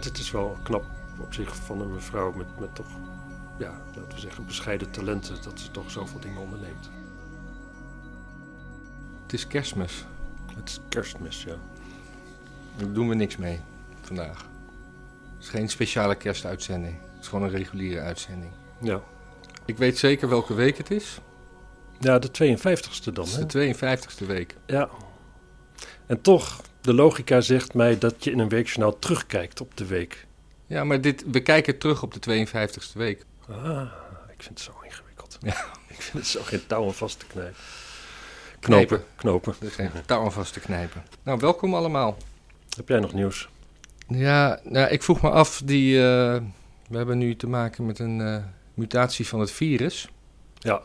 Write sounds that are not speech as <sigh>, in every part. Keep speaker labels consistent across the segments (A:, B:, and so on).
A: het is wel knap op zich van een mevrouw met, met toch, ja, laten we zeggen, bescheiden talenten dat ze toch zoveel dingen onderneemt.
B: Het is kerstmis.
A: Het is kerstmis, ja.
B: Daar doen we niks mee vandaag. Het is geen speciale kerstuitzending. Het is gewoon een reguliere uitzending.
A: Ja,
B: Ik weet zeker welke week het is.
A: ja de 52ste dan,
B: Het
A: hè?
B: is de 52e week.
A: Ja. En toch, de logica zegt mij dat je in een weekjournaal terugkijkt op de week.
B: Ja, maar dit, we kijken terug op de 52e week.
A: Ah, ik vind het zo ingewikkeld.
B: Ja.
A: <laughs> Ik vind het zo geen touw aan vast te knijpen.
B: Knijpen.
A: Knopen, knopen.
B: Er is geen touw aan vast te knijpen. Nou, welkom allemaal.
A: Heb jij nog nieuws?
B: Ja, nou, ik vroeg me af, die, eh, we hebben nu te maken met een eh, mutatie van het virus.
A: Ja,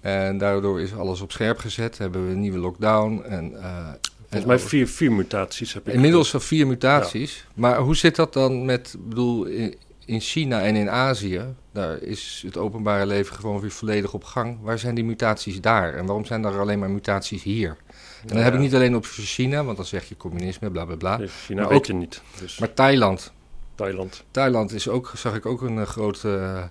B: En daardoor is alles op scherp gezet. Hebben we een nieuwe lockdown. En, eh, en
A: volgens mij
B: alles.
A: vier, vier mutaties heb ik.
B: Inmiddels al vier mutaties. Maar hoe zit dat dan met, ik bedoel, i- in China en in Azië? Daar is het openbare leven gewoon weer volledig op gang. Waar zijn die mutaties daar? En waarom zijn er alleen maar mutaties hier? En dan
A: Ja.
B: heb ik niet alleen op China, want dan zeg je communisme, bla bla bla.
A: Nee, China
B: maar
A: weet
B: ook-
A: je niet. Dus
B: Maar Thailand.
A: Thailand.
B: Thailand is ook, zag ik ook een eh, groot, eh,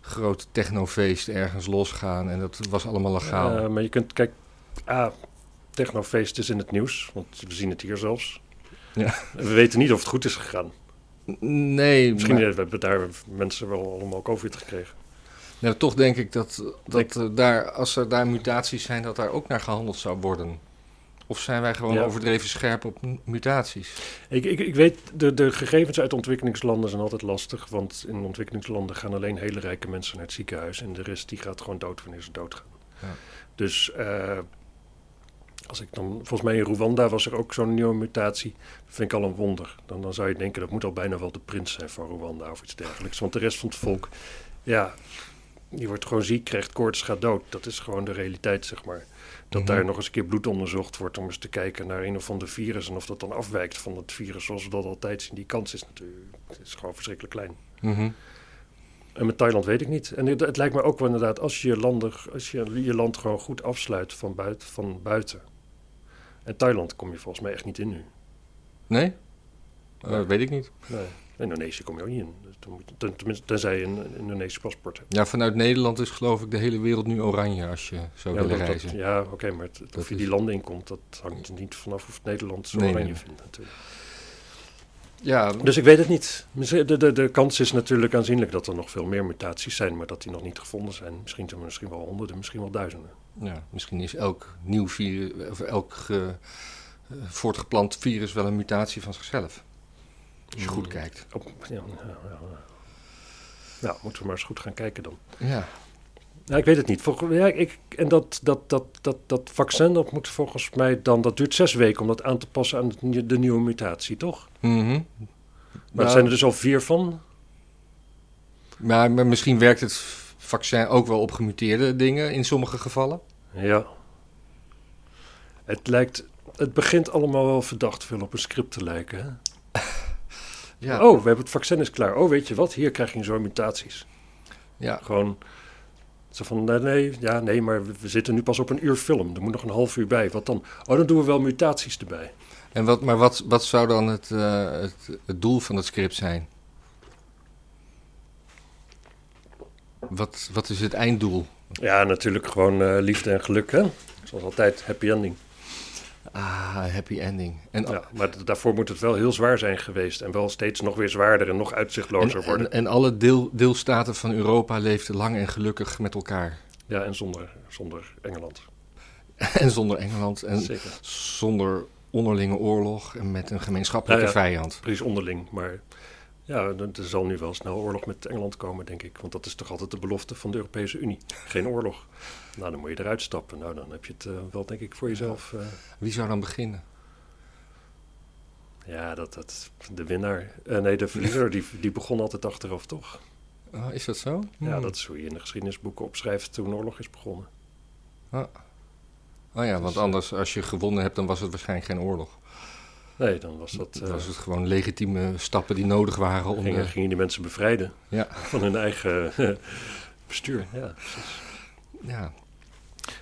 B: groot technofeest ergens losgaan. En dat was allemaal legaal.
A: Eh, maar je kunt, kijk, ah, technofeest is in het nieuws, want we zien het hier zelfs.
B: Ja.
A: We weten niet of het goed is gegaan.
B: nee,
A: Misschien
B: maar,
A: hebben we daar mensen wel allemaal COVID gekregen.
B: nou, toch denk ik dat, dat
A: Ik-
B: eh, daar, als er daar mutaties zijn, dat daar ook naar gehandeld zou worden. Of zijn wij gewoon
A: Ja.
B: overdreven scherp op m- mutaties?
A: Ik, ik, ik weet, de, de gegevens uit ontwikkelingslanden zijn altijd lastig, want in ontwikkelingslanden gaan alleen hele rijke mensen naar het ziekenhuis en de rest die gaat gewoon dood wanneer ze doodgaan.
B: Ja.
A: Dus eh, als ik dan, volgens mij in Rwanda was er ook zo'n nieuwe mutatie, dat vind ik al een wonder. Dan, dan zou je denken dat moet al bijna wel de prins zijn van Rwanda of iets dergelijks, want de rest van het volk, ja, die wordt gewoon ziek, krijgt koorts, gaat dood. Dat is gewoon de realiteit, zeg maar. Dat
B: Mhm.
A: daar nog eens een keer bloed onderzocht wordt om eens te kijken naar een of ander virus en of dat dan afwijkt van het virus zoals we dat altijd zien. Die kans is natuurlijk is gewoon verschrikkelijk klein.
B: Mhm.
A: En met Thailand weet ik niet. En het, het lijkt me ook wel inderdaad, als je je, landen, als je je land gewoon goed afsluit van buiten, van buiten. En Thailand kom je volgens mij echt niet in nu.
B: Nee? Eh, weet ik niet.
A: Nee. Indonesië kom je ook niet in. Dus dan moet je- ten- Tenminste, tenzij je een Indonesisch paspoort hebt.
B: Ja, vanuit Nederland is geloof ik de hele wereld nu oranje als je zou
A: Ja,
B: willen
A: dat- dat-
B: reizen.
A: ja, oké, maar het-
B: Dat
A: of je
B: is-
A: die landen inkomt, dat hangt er niet vanaf of Nederland zo
B: Nee, nee,
A: oranje
B: nee.
A: vindt natuurlijk.
B: Ja,
A: Dus ik weet het niet. Misschien- De, de, de kans is natuurlijk aanzienlijk dat er nog veel meer mutaties zijn, maar dat die nog niet gevonden zijn. Misschien zijn er misschien wel honderden, misschien wel duizenden.
B: ja, misschien is elk nieuw virus, of elk ge- eh, voortgeplant virus wel een mutatie van zichzelf. Als je goed
A: Mm.
B: kijkt.
A: Oh, ja, ja, ja, ja. Nou, moeten we maar eens goed gaan kijken dan.
B: Ja.
A: Nou, ik weet het niet. Volg- ja, ik, en dat, dat, dat, dat, dat vaccin, dat moet volgens mij dan, dat duurt zes weken om dat aan te passen aan het nie- de nieuwe mutatie, toch?
B: Mhm.
A: Maar
B: Nou,
A: er zijn er dus al vier van.
B: maar, maar misschien werkt het vaccin ook wel op gemuteerde dingen in sommige gevallen.
A: Ja. Het lijkt, het begint allemaal wel verdacht veel op een script te lijken, hè?
B: Ja,
A: Oh, we hebben het vaccin is klaar. Oh, weet je wat? Hier krijg je zo'n mutaties.
B: ja.
A: Gewoon zo van, nee, nee, ja, nee, maar we, we zitten nu pas op een uur film. Er moet nog een half uur bij. Wat dan? Oh, dan doen we wel mutaties erbij.
B: En wat, maar wat, wat zou dan het, eh, het, het doel van het script zijn? Wat, wat is het einddoel?
A: Ja, natuurlijk gewoon eh, liefde en geluk, hè? Zoals altijd, happy ending.
B: Ah, happy ending. En,
A: Ja, maar d- daarvoor moet het wel heel zwaar zijn geweest. En wel steeds nog weer zwaarder en nog
B: en,
A: uitzichtlozer worden.
B: en, en alle deel, deelstaten van Europa leefden lang en gelukkig met elkaar. <laughs>
A: ja, en zonder, zonder Engeland.
B: En zonder Engeland en
A: Zeker.
B: zonder onderlinge oorlog en met een gemeenschappelijke
A: Nou ja.
B: vijand.
A: Precies onderling, maar ja, d- er zal nu wel snel oorlog met Engeland komen, denk ik. Want dat is toch altijd de belofte van de Europese Unie. Geen oorlog. Nou, dan moet je eruit stappen. Nou, dan heb je het eh, wel, denk ik, voor jezelf. eh.
B: Wie zou dan beginnen?
A: ja, dat, dat, de winnaar. Eh, nee, de verliezer, die, die begon altijd achteraf, toch?
B: Ah, is dat zo?
A: Ja,
B: Hmm.
A: dat is hoe je in de geschiedenisboeken opschrijft toen oorlog is begonnen.
B: Oh ja,
A: Dus,
B: want
A: eh,
B: anders als je gewonnen hebt, dan was het waarschijnlijk geen oorlog.
A: Nee, dan was dat...
B: Dan
A: eh
B: was het gewoon legitieme stappen die nodig waren om...
A: gingen,
B: de-
A: gingen die mensen bevrijden
B: Ja.
A: van hun eigen <laughs> bestuur. Ja,
B: Ja.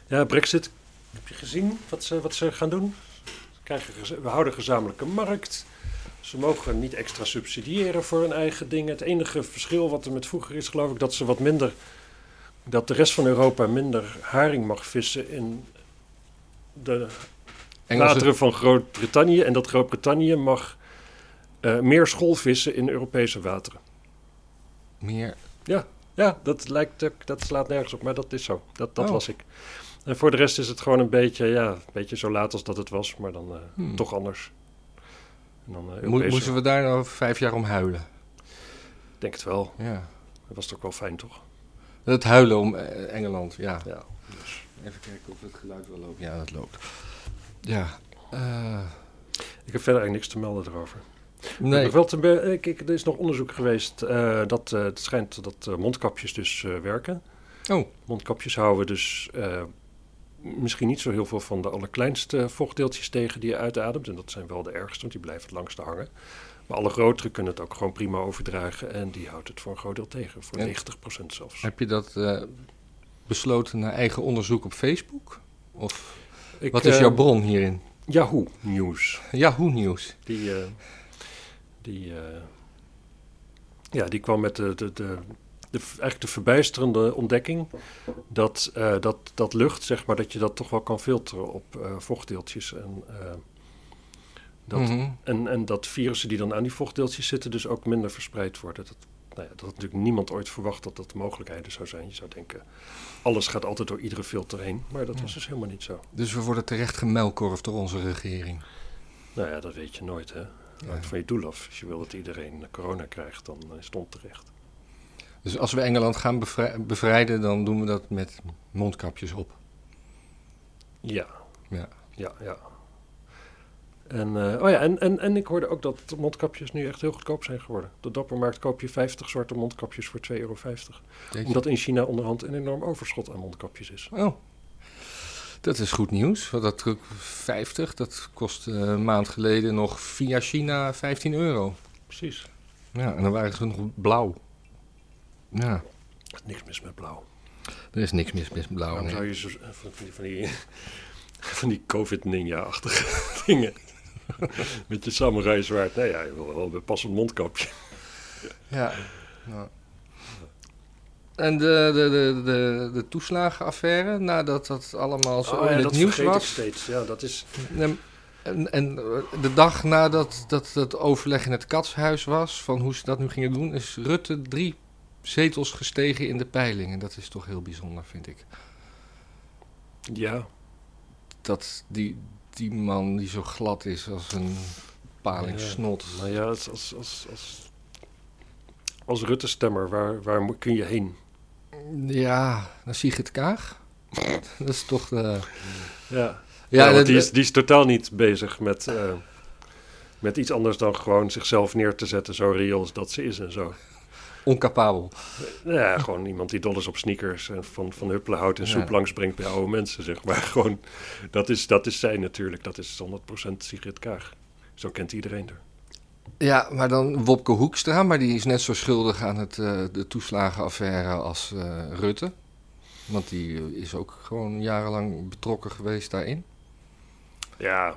A: Ja, Brexit. Heb je gezien wat ze, wat ze gaan doen? Ze Krijgen, geze- we houden gezamenlijke markt. Ze mogen niet extra subsidiëren voor hun eigen dingen. Het enige verschil wat er met vroeger is, geloof ik, dat ze wat minder. dat de rest van Europa minder haring mag vissen in de
B: Engelse-
A: wateren van Groot-Brittannië. En dat Groot-Brittannië mag eh, meer schoolvissen in Europese wateren.
B: Meer.
A: Ja, dat, lijkt, eh, dat slaat nergens op, maar dat is zo. Dat, dat
B: Oh.
A: was ik. En voor de rest is het gewoon een beetje, ja, een beetje zo laat als dat het was, maar dan eh,
B: Hmm.
A: toch anders. En dan, eh,
B: Mo-
A: Europese-
B: moesten we daar nou over vijf jaar om huilen?
A: Ik denk het wel.
B: Ja.
A: Dat was toch wel fijn, toch?
B: Dat huilen om eh, Engeland, ja.
A: Ja.
B: Even kijken of het geluid wel loopt. Ja, dat loopt. Ja. eh,
A: Ik heb verder eigenlijk niks te melden erover. Ik
B: nee.
A: heb wel te be- eh, kijk, er is nog onderzoek geweest eh, dat eh, het schijnt dat eh, mondkapjes dus eh, werken.
B: Oh.
A: Mondkapjes houden dus eh, misschien niet zo heel veel van de allerkleinste vochtdeeltjes tegen die je uitademt. En dat zijn wel de ergste, want die blijven het langste hangen. Maar alle grotere kunnen het ook gewoon prima overdragen en die houdt het voor een groot deel tegen. Voor
B: En-
A: 90% zelfs.
B: Heb je dat eh, besloten naar eigen onderzoek op Facebook? Of
A: Ik,
B: wat is
A: eh,
B: jouw bron hierin?
A: Yahoo News.
B: Yahoo News.
A: Die, eh, die, eh, ja, die kwam met de, de, de, de, eigenlijk de verbijsterende ontdekking dat, eh, dat, dat lucht, zeg maar, dat je dat toch wel kan filteren op eh, vochtdeeltjes. En, eh, dat,
B: Mhm.
A: en, en dat virussen die dan aan die vochtdeeltjes zitten, dus ook minder verspreid worden. Dat, nou ja, dat had natuurlijk niemand ooit verwacht dat dat mogelijkheden zou zijn. Je zou denken, alles gaat altijd door iedere filter heen. Maar dat was dus helemaal niet zo.
B: Dus we worden terecht gemelkorfd door onze regering.
A: Nou ja, dat weet je nooit, hè.
B: Ja.
A: Hangt van je doel af. Als je wil dat iedereen corona krijgt, dan eh, is het onterecht.
B: Dus als we Engeland gaan bevrij- bevrijden, dan doen we dat met mondkapjes op.
A: Ja.
B: Ja.
A: Ja, ja. En, eh, oh ja, en, en, en ik hoorde ook dat mondkapjes nu echt heel goedkoop zijn geworden. Op de dappermarkt koop je 50 zwarte mondkapjes voor 2,50 euro.
B: Weet je?
A: Omdat in China onderhand een enorm overschot aan mondkapjes is.
B: Oh, dat is goed nieuws. Want dat truc 50, dat kost eh, een maand geleden nog via China 15 euro.
A: Precies.
B: Ja, en dan waren ze nog blauw. Ja,
A: Er is niks mis met blauw.
B: er is niks mis met blauw.
A: Waarom
B: Oh, nee.
A: zou je zo, eh, van, van die, van die, <laughs> van die COVID-ninja-achtige <laughs> dingen... met je samurai zwaard. Nou ja, je wil wel een passend mondkapje.
B: Ja. ja. En de, de, de, de, de toeslagenaffaire, nadat dat allemaal zo in het nieuws
A: Oh, vergeet
B: was.
A: ik steeds. Ja, dat is...
B: En, en, en de dag nadat dat het overleg in het katshuis was, van hoe ze dat nu gingen doen, is Rutte drie zetels gestegen in de peiling. En dat is toch heel bijzonder, vind ik.
A: Ja,
B: Dat die, die man die zo glad is als een paling
A: Ja.
B: snot.
A: Nou ja, als, als, als, als, als Rutte-stemmer, waar, waar mo- kun je heen?
B: Ja, dan zie je het kaag. <laughs> Dat is toch de...
A: Ja,
B: Ja,
A: Nou, want
B: dat,
A: die, is, die is totaal niet bezig met, eh, met iets anders dan gewoon zichzelf neer te zetten, zo reëel als dat ze is en zo.
B: oncapabel.
A: Nou Ja, gewoon iemand die dol is op sneakers en van, van huppelen houdt en
B: Ja.
A: soep langs brengt bij oude mensen, zeg maar. <laughs> Gewoon, dat is, dat is zij natuurlijk, dat is 100% Sigrid Kaag. Zo kent iedereen er.
B: Ja, maar dan Wopke Hoekstra, maar die is net zo schuldig aan het, eh, de toeslagenaffaire als eh, Rutte. Want die eh, is ook gewoon jarenlang betrokken geweest daarin.
A: Ja,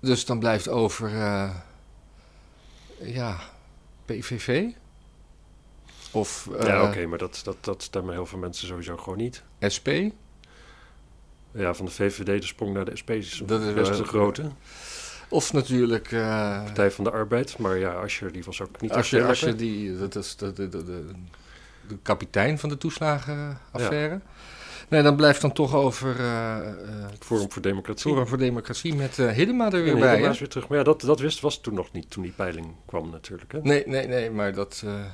B: Dus dan blijft over, eh, ja, PVV. Of eh,
A: ja oké, maar dat, dat, dat stemmen heel veel mensen sowieso gewoon niet.
B: SP.
A: Ja, van de VVD de sprong naar de SP is
B: Dat is
A: best
B: wel-
A: een grote.
B: Of natuurlijk, eh,
A: Partij van de Arbeid. Maar ja, Asscher die was ook niet
B: als, je,
A: echt
B: als je
A: erg,
B: die, dat is de, de, de, de, de kapitein van de toeslagenaffaire. Nee, dan blijft dan toch over eh, eh,
A: hè? Forum voor Democratie.
B: Forum voor Democratie met eh Hiddema er weer
A: Nee,
B: bij.
A: daarna
B: hè?
A: is weer terug. Maar ja, dat, dat wist, was toen nog niet, toen die peiling kwam natuurlijk. Hè?
B: Nee, nee, nee, maar dat. eh,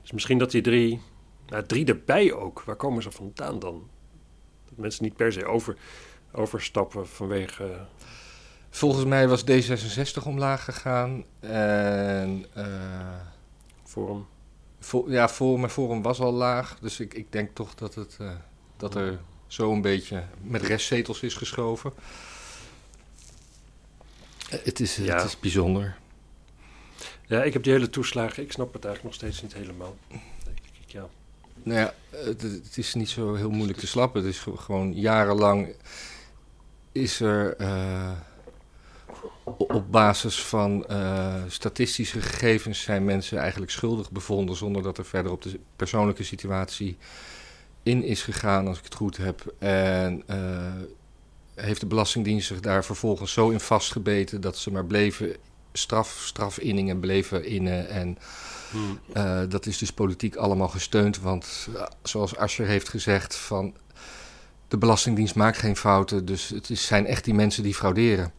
A: Dus misschien dat die drie, nou, drie erbij ook. Waar komen ze vandaan dan? Dat mensen niet per se over, overstappen vanwege... eh,
B: volgens mij was D66 omlaag gegaan. En. eh,
A: Forum.
B: voor, ja, voor, mijn Forum was al laag. Dus ik, ik denk toch dat, het, eh, dat er zo een beetje met restzetels is geschoven. Eh, het, is,
A: Ja.
B: het is bijzonder.
A: Ja, ik heb die hele toeslagen. Ik snap het eigenlijk nog steeds niet helemaal. Denk ik, ja.
B: Nou ja, het, het is niet zo heel moeilijk te slappen. Het is ge- gewoon jarenlang is er eh, op basis van eh, statistische gegevens zijn mensen eigenlijk schuldig bevonden zonder dat er verder op de persoonlijke situatie in is gegaan, als ik het goed heb. En eh, heeft de Belastingdienst zich daar vervolgens zo in vastgebeten dat ze maar bleven straf, strafinningen bleven innen. En
A: Hmm.
B: eh, dat is dus politiek allemaal gesteund, want eh, zoals Asscher heeft gezegd van... De Belastingdienst maakt geen fouten, dus het is, zijn echt die mensen die frauderen.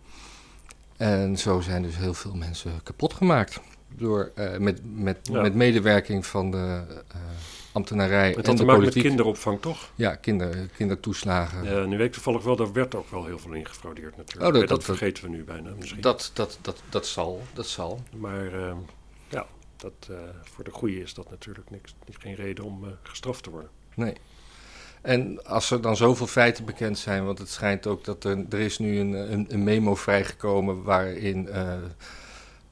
B: En zo zijn dus heel veel mensen kapot gemaakt. Door, eh, met, met,
A: Ja.
B: met medewerking van de eh, ambtenarij
A: Het
B: en
A: had
B: de
A: te maken met
B: politiek.
A: kinderopvang, toch?
B: Ja, kinder, kindertoeslagen.
A: Ja, nu weet ik toevallig wel, daar werd ook wel heel veel in gefraudeerd natuurlijk.
B: Oh, dat-
A: Maar dat,
B: dat-
A: vergeten we nu bijna misschien.
B: Dat, dat, dat, dat zal, dat zal.
A: Maar eh, ja, dat, eh, voor de goede is dat natuurlijk niks, geen reden om eh, gestraft te worden.
B: Nee. En als er dan zoveel feiten bekend zijn, want het schijnt ook dat er, er is nu een, een, een memo vrijgekomen waarin eh,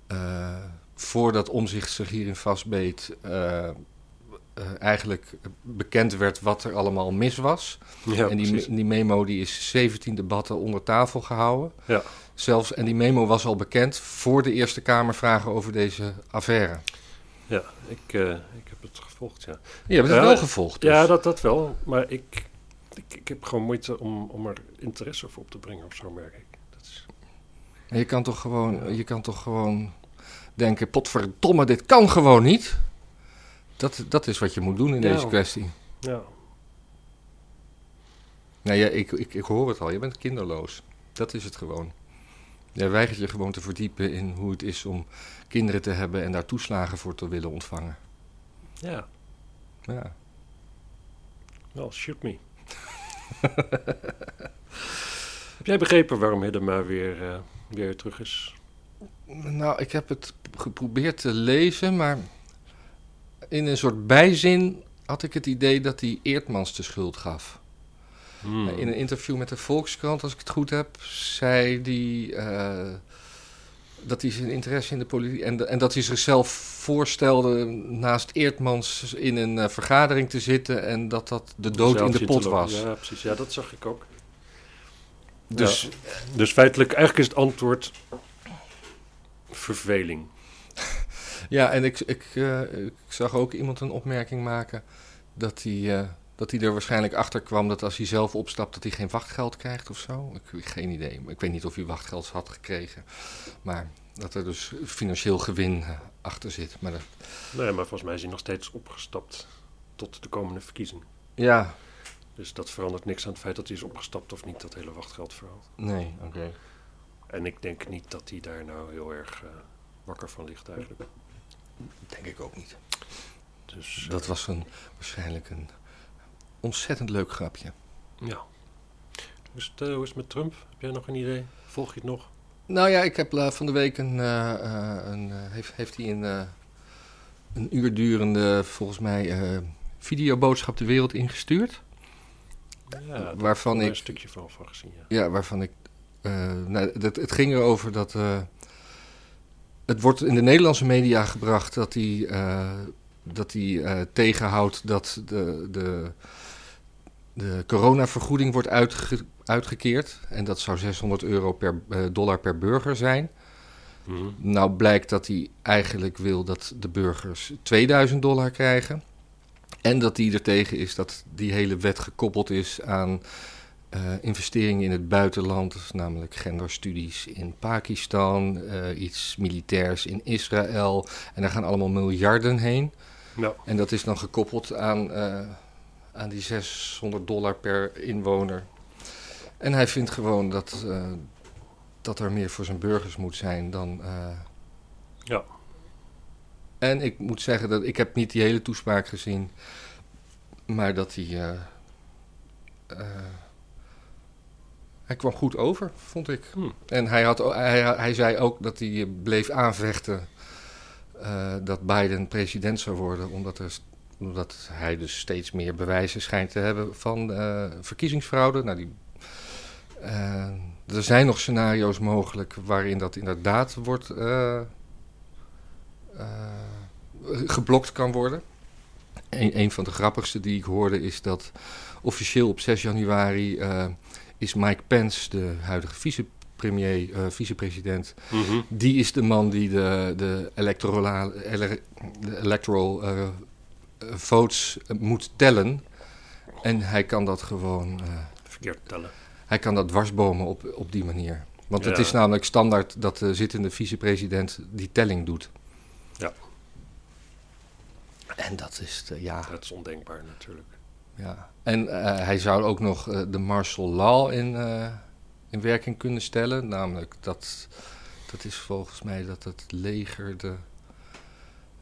B: eh, voordat Omzicht zich hierin vastbeet, eh, eh, eigenlijk bekend werd wat er allemaal mis was.
A: Ja,
B: en die, die memo die is 17 debatten onder tafel gehouden.
A: Ja.
B: Zelfs, en die memo was al bekend voor de Eerste Kamervragen over deze affaire.
A: Ja, ik, eh, ik heb het gevolgd, ja.
B: Je hebt het
A: Ja,
B: wel
A: dat-
B: gevolgd. dus.
A: Ja, dat, dat wel. Maar ik, ik, ik heb gewoon moeite om, om er interesse voor op te brengen of zo, merk ik. Dat is,
B: En Je, kan toch gewoon, je kan toch gewoon denken: potverdomme, dit kan gewoon niet. Dat, dat is wat je moet doen in
A: Ja.
B: deze kwestie.
A: ja,
B: Nou ja, ik, ik, ik hoor het al. Je bent kinderloos. Dat is het gewoon. Jij weigert je gewoon te verdiepen in hoe het is om kinderen te hebben en daar toeslagen voor te willen ontvangen.
A: ja,
B: Ja.
A: wel, shoot
B: <laughs>
A: me. heb jij begrepen waarom Hiddema weer, eh, weer terug is?
B: Nou, ik heb het geprobeerd te lezen, maar in een soort bijzin had ik het idee dat hij Eertmans de schuld gaf.
A: Hmm.
B: In een interview met de Volkskrant, als ik het goed heb, zei hij eh, dat hij zijn interesse in de politiek... En, en dat hij zichzelf voorstelde naast Eertmans in een eh, vergadering te zitten... en dat dat de dood in
A: Zelf
B: de
A: zitten
B: pot
A: lopen.
B: was.
A: Ja, precies. Ja, dat zag ik ook.
B: Dus
A: Dus feitelijk, eigenlijk is het antwoord verveling.
B: Ja, en ik, ik, eh, ik zag ook iemand een opmerking maken dat hij, eh, dat hij er waarschijnlijk achter kwam dat als hij zelf opstapt, dat hij geen wachtgeld krijgt of zo. Ik, geen idee. Ik weet niet of hij wachtgeld had gekregen. Maar dat er dus financieel gewin eh, achter zit. Maar dat-
A: Nee, Nou maar volgens mij is hij nog steeds opgestapt tot de komende verkiezing.
B: ja,
A: Dus dat verandert niks aan het feit dat hij is opgestapt of niet, dat hele wachtgeldverhaal.
B: nee, oké.
A: En ik denk niet dat hij daar nou heel erg eh, wakker van ligt eigenlijk.
B: Denk ik ook niet.
A: Dus eh,
B: Dat was een, waarschijnlijk een ontzettend leuk grapje.
A: ja. Hoe is, het, eh, hoe is het met Trump? Heb jij nog een idee? Volg je het nog?
B: Nou ja, ik heb eh, van de week een. eh, eh, een eh, heeft, heeft hij een, eh, een uur durende, volgens mij, eh, videoboodschap de wereld ingestuurd?
A: Ja, daar
B: waarvan
A: heb ik
B: ik.
A: een stukje van, van gezien. Ja.
B: Ja, waarvan ik. eh, nou, dat, het ging erover dat. eh, het wordt in de Nederlandse media gebracht dat hij. eh, dat hij eh, tegenhoudt dat de. de de coronavergoeding wordt uitge- uitgekeerd. En dat zou 600 euro per eh, dollar per burger zijn.
A: Mhm.
B: Nou blijkt dat hij eigenlijk wil dat de burgers 2000 dollar krijgen. En dat hij er tegen is dat die hele wet gekoppeld is aan eh, investeringen in het buitenland. Namelijk genderstudies in Pakistan, eh, iets militairs in Israël. En daar gaan allemaal miljarden heen.
A: Nou,
B: En dat is dan gekoppeld aan, eh, aan die 600 dollar per inwoner. En hij vindt gewoon dat, eh, dat er meer voor zijn burgers moet zijn dan. eh.
A: Ja.
B: En ik moet zeggen dat ik heb niet die hele toespraak gezien, maar dat hij. eh, eh, hij kwam goed over, vond ik.
A: Hmm.
B: En hij, had, o- hij, hij zei ook dat hij eh, bleef aanvechten eh, dat Biden president zou worden, omdat, er, st- omdat hij dus steeds meer bewijzen schijnt te hebben van eh, verkiezingsfraude. Nou, die, eh, er zijn nog scenario's mogelijk waarin dat inderdaad wordt eh, eh, geblokt kan worden. Een, een van de grappigste die ik hoorde is dat officieel op 6 januari eh, is Mike Pence, de huidige vicepresident premier, uh, vicepresident, mm
A: Mhm.
B: -hmm. die is de man die de, de, electoral, ele, de electoral uh, votes eh, moet tellen. En hij kan dat gewoon. eh,
A: Verkeerd tellen.
B: Hij kan dat dwarsbomen op, op die manier. Want ja. het is namelijk standaard dat de zittende vicepresident die telling doet.
A: Ja.
B: En dat is, de, ja...
A: Dat is ondenkbaar natuurlijk.
B: Ja. En uh, hij zou ook nog uh, de martial law in, uh, in werking kunnen stellen. Namelijk dat, dat is volgens mij dat het leger de...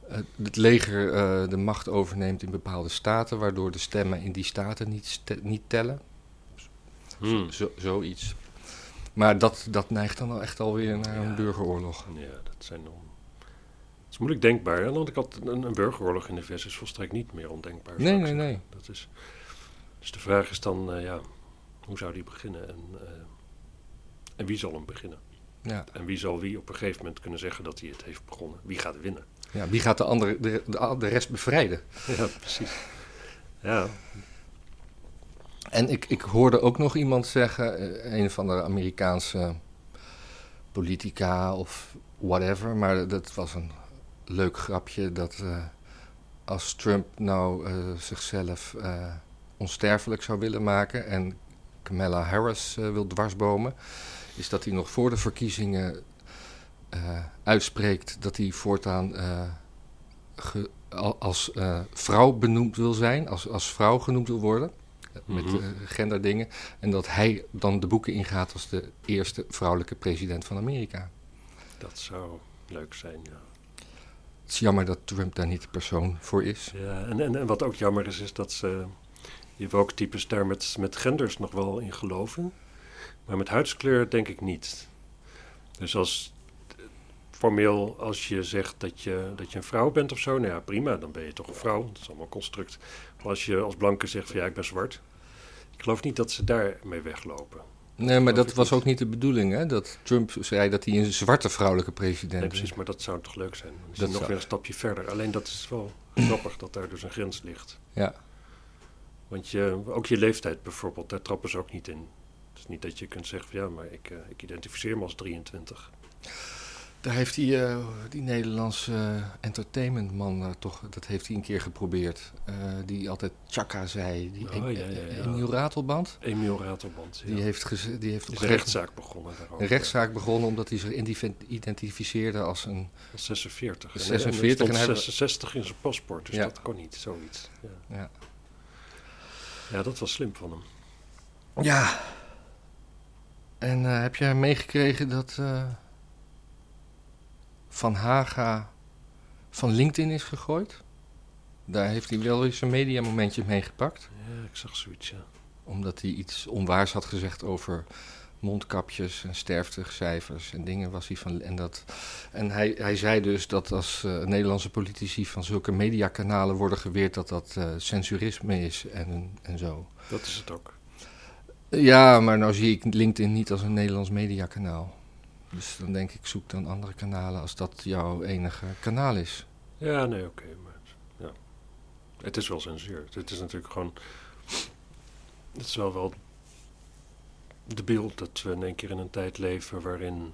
B: eh, Het leger eh, de macht overneemt in bepaalde staten, waardoor de stemmen in die staten niet, niet tellen.
A: Hm.
B: Hmm. Zo, zoiets. Maar dat, dat neigt dan wel echt alweer naar een ja. burgeroorlog.
A: Ja, dat zijn dan. Het is moeilijk denkbaar. Hè? Want ik had een, een, burgeroorlog in de VS is volstrekt niet meer ondenkbaar.
B: Nee, nee, nee.
A: Dat is, dus de vraag is dan, uh, ja, hoe zou die beginnen en, uh, en wie zal hem beginnen?
B: Ja.
A: En wie zal wie op een gegeven moment kunnen zeggen dat hij het heeft begonnen? Wie gaat winnen?
B: Ja, wie gaat de, andere, de, de, de rest bevrijden?
A: Ja, <laughs> precies. Ja,
B: en ik, ik, hoorde ook nog iemand zeggen, eh, een van de Amerikaanse politica of whatever, maar dat was een leuk grapje dat uh, als Trump nou uh, zichzelf uh, onsterfelijk zou willen maken en Kamala Harris eh, wil dwarsbomen, is dat hij nog voor de verkiezingen eh, uitspreekt dat hij voortaan eh, ge, als eh, vrouw benoemd wil zijn, als, als vrouw genoemd wil worden met mm -hmm. genderdingen. En dat hij dan de boeken ingaat als de eerste vrouwelijke president van Amerika.
A: Dat zou leuk zijn, ja.
B: Het is jammer dat Trump daar niet de persoon voor is.
A: Ja, en, en, en wat ook jammer is, is dat ze... Je hebt ook types daar met, met genders nog wel in geloven. Maar met huidskleur denk ik niet. Dus als... Formeel, als je zegt dat je, dat je een vrouw bent of zo, nou ja, prima, dan ben je toch een vrouw. Dat is allemaal construct. Als je als blanke zegt van ja, ik ben zwart. Ik geloof niet dat ze daarmee weglopen.
B: Nee, maar dat was niet. ook niet de bedoeling, hè? Dat Trump zei dat hij een zwarte vrouwelijke president
A: Nee, precies, maar dat zou toch leuk zijn? Dan is dat nog zou... weer een stapje verder. Alleen dat is wel grappig dat daar dus een grens ligt.
B: Ja.
A: Want je, ook je leeftijd bijvoorbeeld, daar trappen ze ook niet in. Het is niet dat je kunt zeggen van ja, maar ik, uh, ik identificeer me als 23.
B: Daar heeft die, uh, die Nederlandse uh, entertainmentman uh, toch, dat heeft hij een keer geprobeerd. Eh, die altijd Chaka zei, die oh, ja, ja, ja. Emiel Ratelband.
A: Emiel Ratelband,
B: Die heeft, die heeft
A: op een rechtszaak begonnen daarover.
B: Een rechtszaak begonnen omdat hij zich identificeerde als een...
A: 46.
B: 46.
A: En, en, en, en 66 in zijn paspoort, dus dat kon niet, zoiets.
B: Ja.
A: ja, dat was slim van hem.
B: Ja. En eh, heb jij meegekregen dat... eh, Van Haga van LinkedIn is gegooid. Daar heeft hij wel eens een mediamomentje mee gepakt.
A: Ja, ik zag zoiets, ja.
B: Omdat hij iets onwaars had gezegd over mondkapjes en sterftecijfers en dingen was hij van... En, dat, en hij, hij zei dus dat als uh, Nederlandse politici van zulke mediakanalen worden geweerd... dat dat uh, censurisme is en, en zo.
A: Dat is het ook.
B: Ja, maar nou zie ik LinkedIn niet als een Nederlands mediakanaal. Dus dan denk ik, zoek dan andere kanalen als dat jouw enige kanaal is.
A: Ja, nee, oké. Okay, maar ja. Het is wel censuur. Het is natuurlijk gewoon... Het is wel wel de beeld dat we in één keer in een tijd leven waarin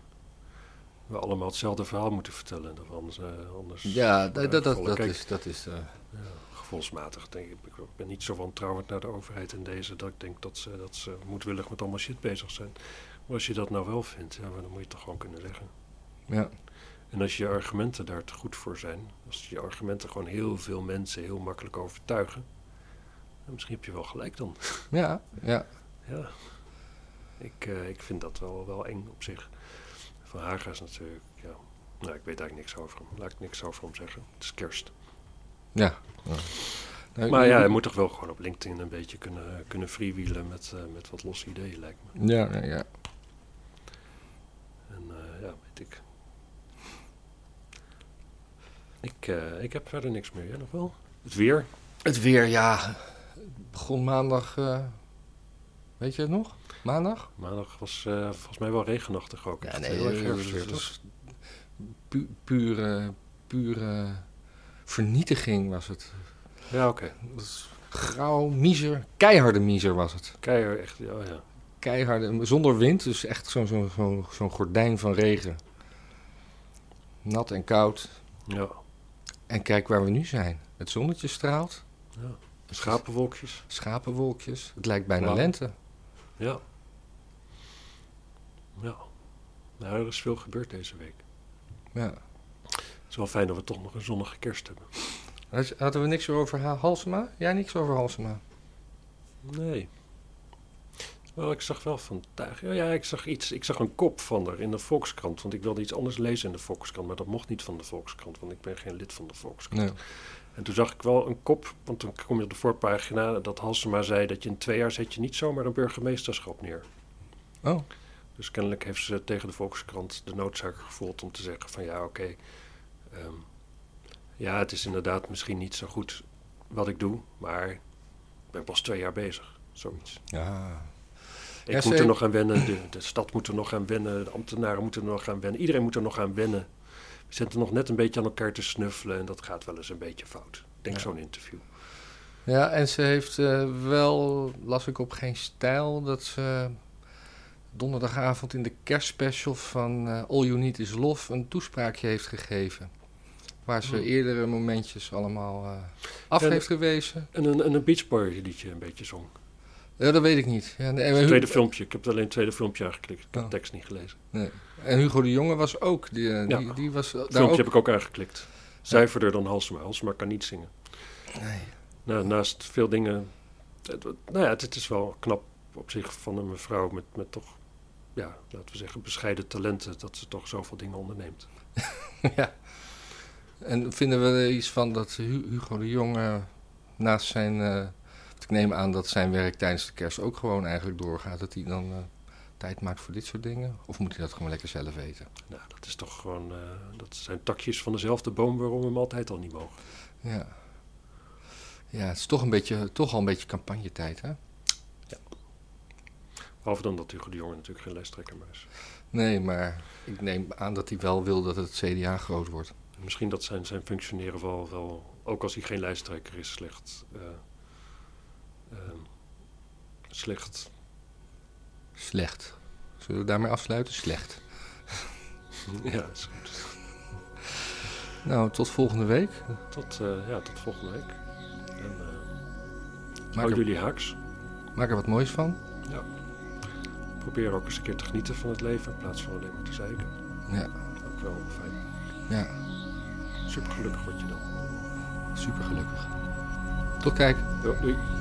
A: we allemaal hetzelfde verhaal moeten vertellen. Of anders, uh, anders
B: ja, nou, dat, dat, dat, Kijk, is... Dat is uh,
A: ja, gevoelsmatig denk ik. Ik ben niet zo wantrouwend naar de overheid in deze dat ik denk dat ze, dat ze moedwillig met allemaal shit bezig zijn. Maar als je dat nou wel vindt, ja, dan moet je het toch gewoon kunnen zeggen.
B: Ja.
A: En als je argumenten daar te goed voor zijn, als je argumenten gewoon heel veel mensen heel makkelijk overtuigen, dan misschien heb je wel gelijk dan.
B: Ja, ja.
A: ja. Ik, uh, ik vind dat wel, wel eng op zich. Van Haga is natuurlijk, ja. Nou, ik weet eigenlijk niks over hem. Laat ik niks over hem zeggen. Het is kerst.
B: Ja. ja. Eh,
A: Nou, maar ja, hij moet toch wel gewoon op LinkedIn een beetje kunnen, kunnen freewheelen met, uh, met wat losse ideeën, lijkt me.
B: Ja, ja, ja.
A: En uh, ja, weet ik. Ik, uh, ik heb verder niks meer. Jij nog wel? Het weer?
B: Het weer, ja. Het begon maandag. Uh, weet je het nog? Maandag?
A: Maandag was eh, volgens mij wel regenachtig ook. eh,
B: Ja, nee, heel erg herfst dus pu pure, pure vernietiging was het.
A: Ja, oké. Okay.
B: Grauw, miezer, keiharde miezer was het.
A: Keihard, echt, ja, ja.
B: keiharde, zonder wind, dus echt zo'n zo, zo, zo gordijn van regen. Nat en koud.
A: Ja.
B: En kijk waar we nu zijn. Het zonnetje straalt,
A: ja. Schapenwolkjes.
B: schapenwolkjes. Het lijkt bijna
A: Wauw.
B: lente.
A: Ja. Ja. Nou, er is veel gebeurd deze week.
B: Ja.
A: Het is wel fijn dat we toch nog een zonnige kerst hebben.
B: Had- Hadden we niks over Ha- Halsema? Jij niks over Halsema?
A: Nee. Wel, ik zag wel vandaag. Ja, ja, ik zag iets. Ik zag een kop van haar in de Volkskrant. Want ik wilde iets anders lezen in de Volkskrant. Maar dat mocht niet van de Volkskrant. Want ik ben geen lid van de Volkskrant.
B: Nee.
A: En toen zag ik wel een kop. Want toen kom je op de voorpagina. Dat Halsema zei dat je in twee jaar zet je niet zomaar een burgemeesterschap neer.
B: Oh,
A: Dus kennelijk heeft ze tegen de Volkskrant de noodzaak gevoeld om te zeggen van ja, oké. ehm, ja, het is inderdaad misschien niet zo goed wat ik doe, maar ik ben pas twee jaar bezig. Zoiets.
B: ja.
A: Ik
B: Ja,
A: moet
B: ze-
A: er nog aan wennen, de, de stad moet er nog aan wennen, de ambtenaren moeten er nog aan wennen, iedereen moet er nog aan wennen. We zitten nog net een beetje aan elkaar te snuffelen en dat gaat wel eens een beetje fout. Ik Denk
B: Ja.
A: zo'n interview.
B: Ja, en ze heeft eh, wel, las ik op geen stijl, dat ze donderdagavond in de kerstspecial van eh, All You Need Is Love een toespraakje heeft gegeven. Waar ze
A: Hmm.
B: eerdere momentjes allemaal eh, af
A: Ja,
B: heeft gewezen.
A: En een, en een Beach Boy liedje een beetje zong.
B: Ja, dat weet ik niet. Ja, en, en
A: Het
B: Hu-
A: tweede filmpje, ik heb alleen het tweede filmpje aangeklikt, ik heb
B: Oh.
A: de tekst niet gelezen.
B: en Hugo de Jonge was ook, die, eh,
A: Ja.
B: die, die was
A: Het
B: daar
A: filmpje
B: ook.
A: heb ik ook aangeklikt. Zuiverder dan Halsema. Halsema kan niet zingen.
B: Nee.
A: Nou, naast veel dingen... Het, het- nou ja, het, het is wel knap op zich van een mevrouw met, met toch... Ja, laten we zeggen bescheiden talenten... dat ze toch zoveel dingen onderneemt.
B: <laughs> ja. En vinden we er iets van dat Hu- Hugo de Jonge naast zijn. eh, want ik neem aan dat zijn werk tijdens de kerst ook gewoon eigenlijk doorgaat. Dat hij dan eh, tijd maakt voor dit soort dingen? Of moet hij dat gewoon lekker zelf weten?
A: Nou, dat is toch gewoon... eh, dat zijn takjes van dezelfde boom... waarom we hem altijd al niet mogen.
B: Ja. Ja, het is toch, een beetje, toch al een beetje campagnetijd, hè?
A: Behalve dan dat Hugo de Jonge natuurlijk geen lijsttrekker meer is.
B: Nee, maar ik neem aan dat hij wel wil dat het CDA groot wordt.
A: En misschien dat zijn, zijn functioneren wel, wel... ook als hij geen lijsttrekker is, slecht... eh, ehm, slecht <laughs>
B: Slecht. Zullen we daarmee afsluiten? Slecht.
A: Ja, is goed.
B: Nou, tot volgende week.
A: Tot, eh, ja, tot volgende week. En, eh
B: Maak
A: hou
B: er,
A: jullie haaks.
B: maak er wat moois van.
A: Probeer ook eens een keer te genieten van het leven in plaats van alleen maar te zeiken.
B: Ja,
A: Ook wel fijn.
B: ja.
A: Super gelukkig word je dan.
B: Super gelukkig. Tot kijk.
A: Doei.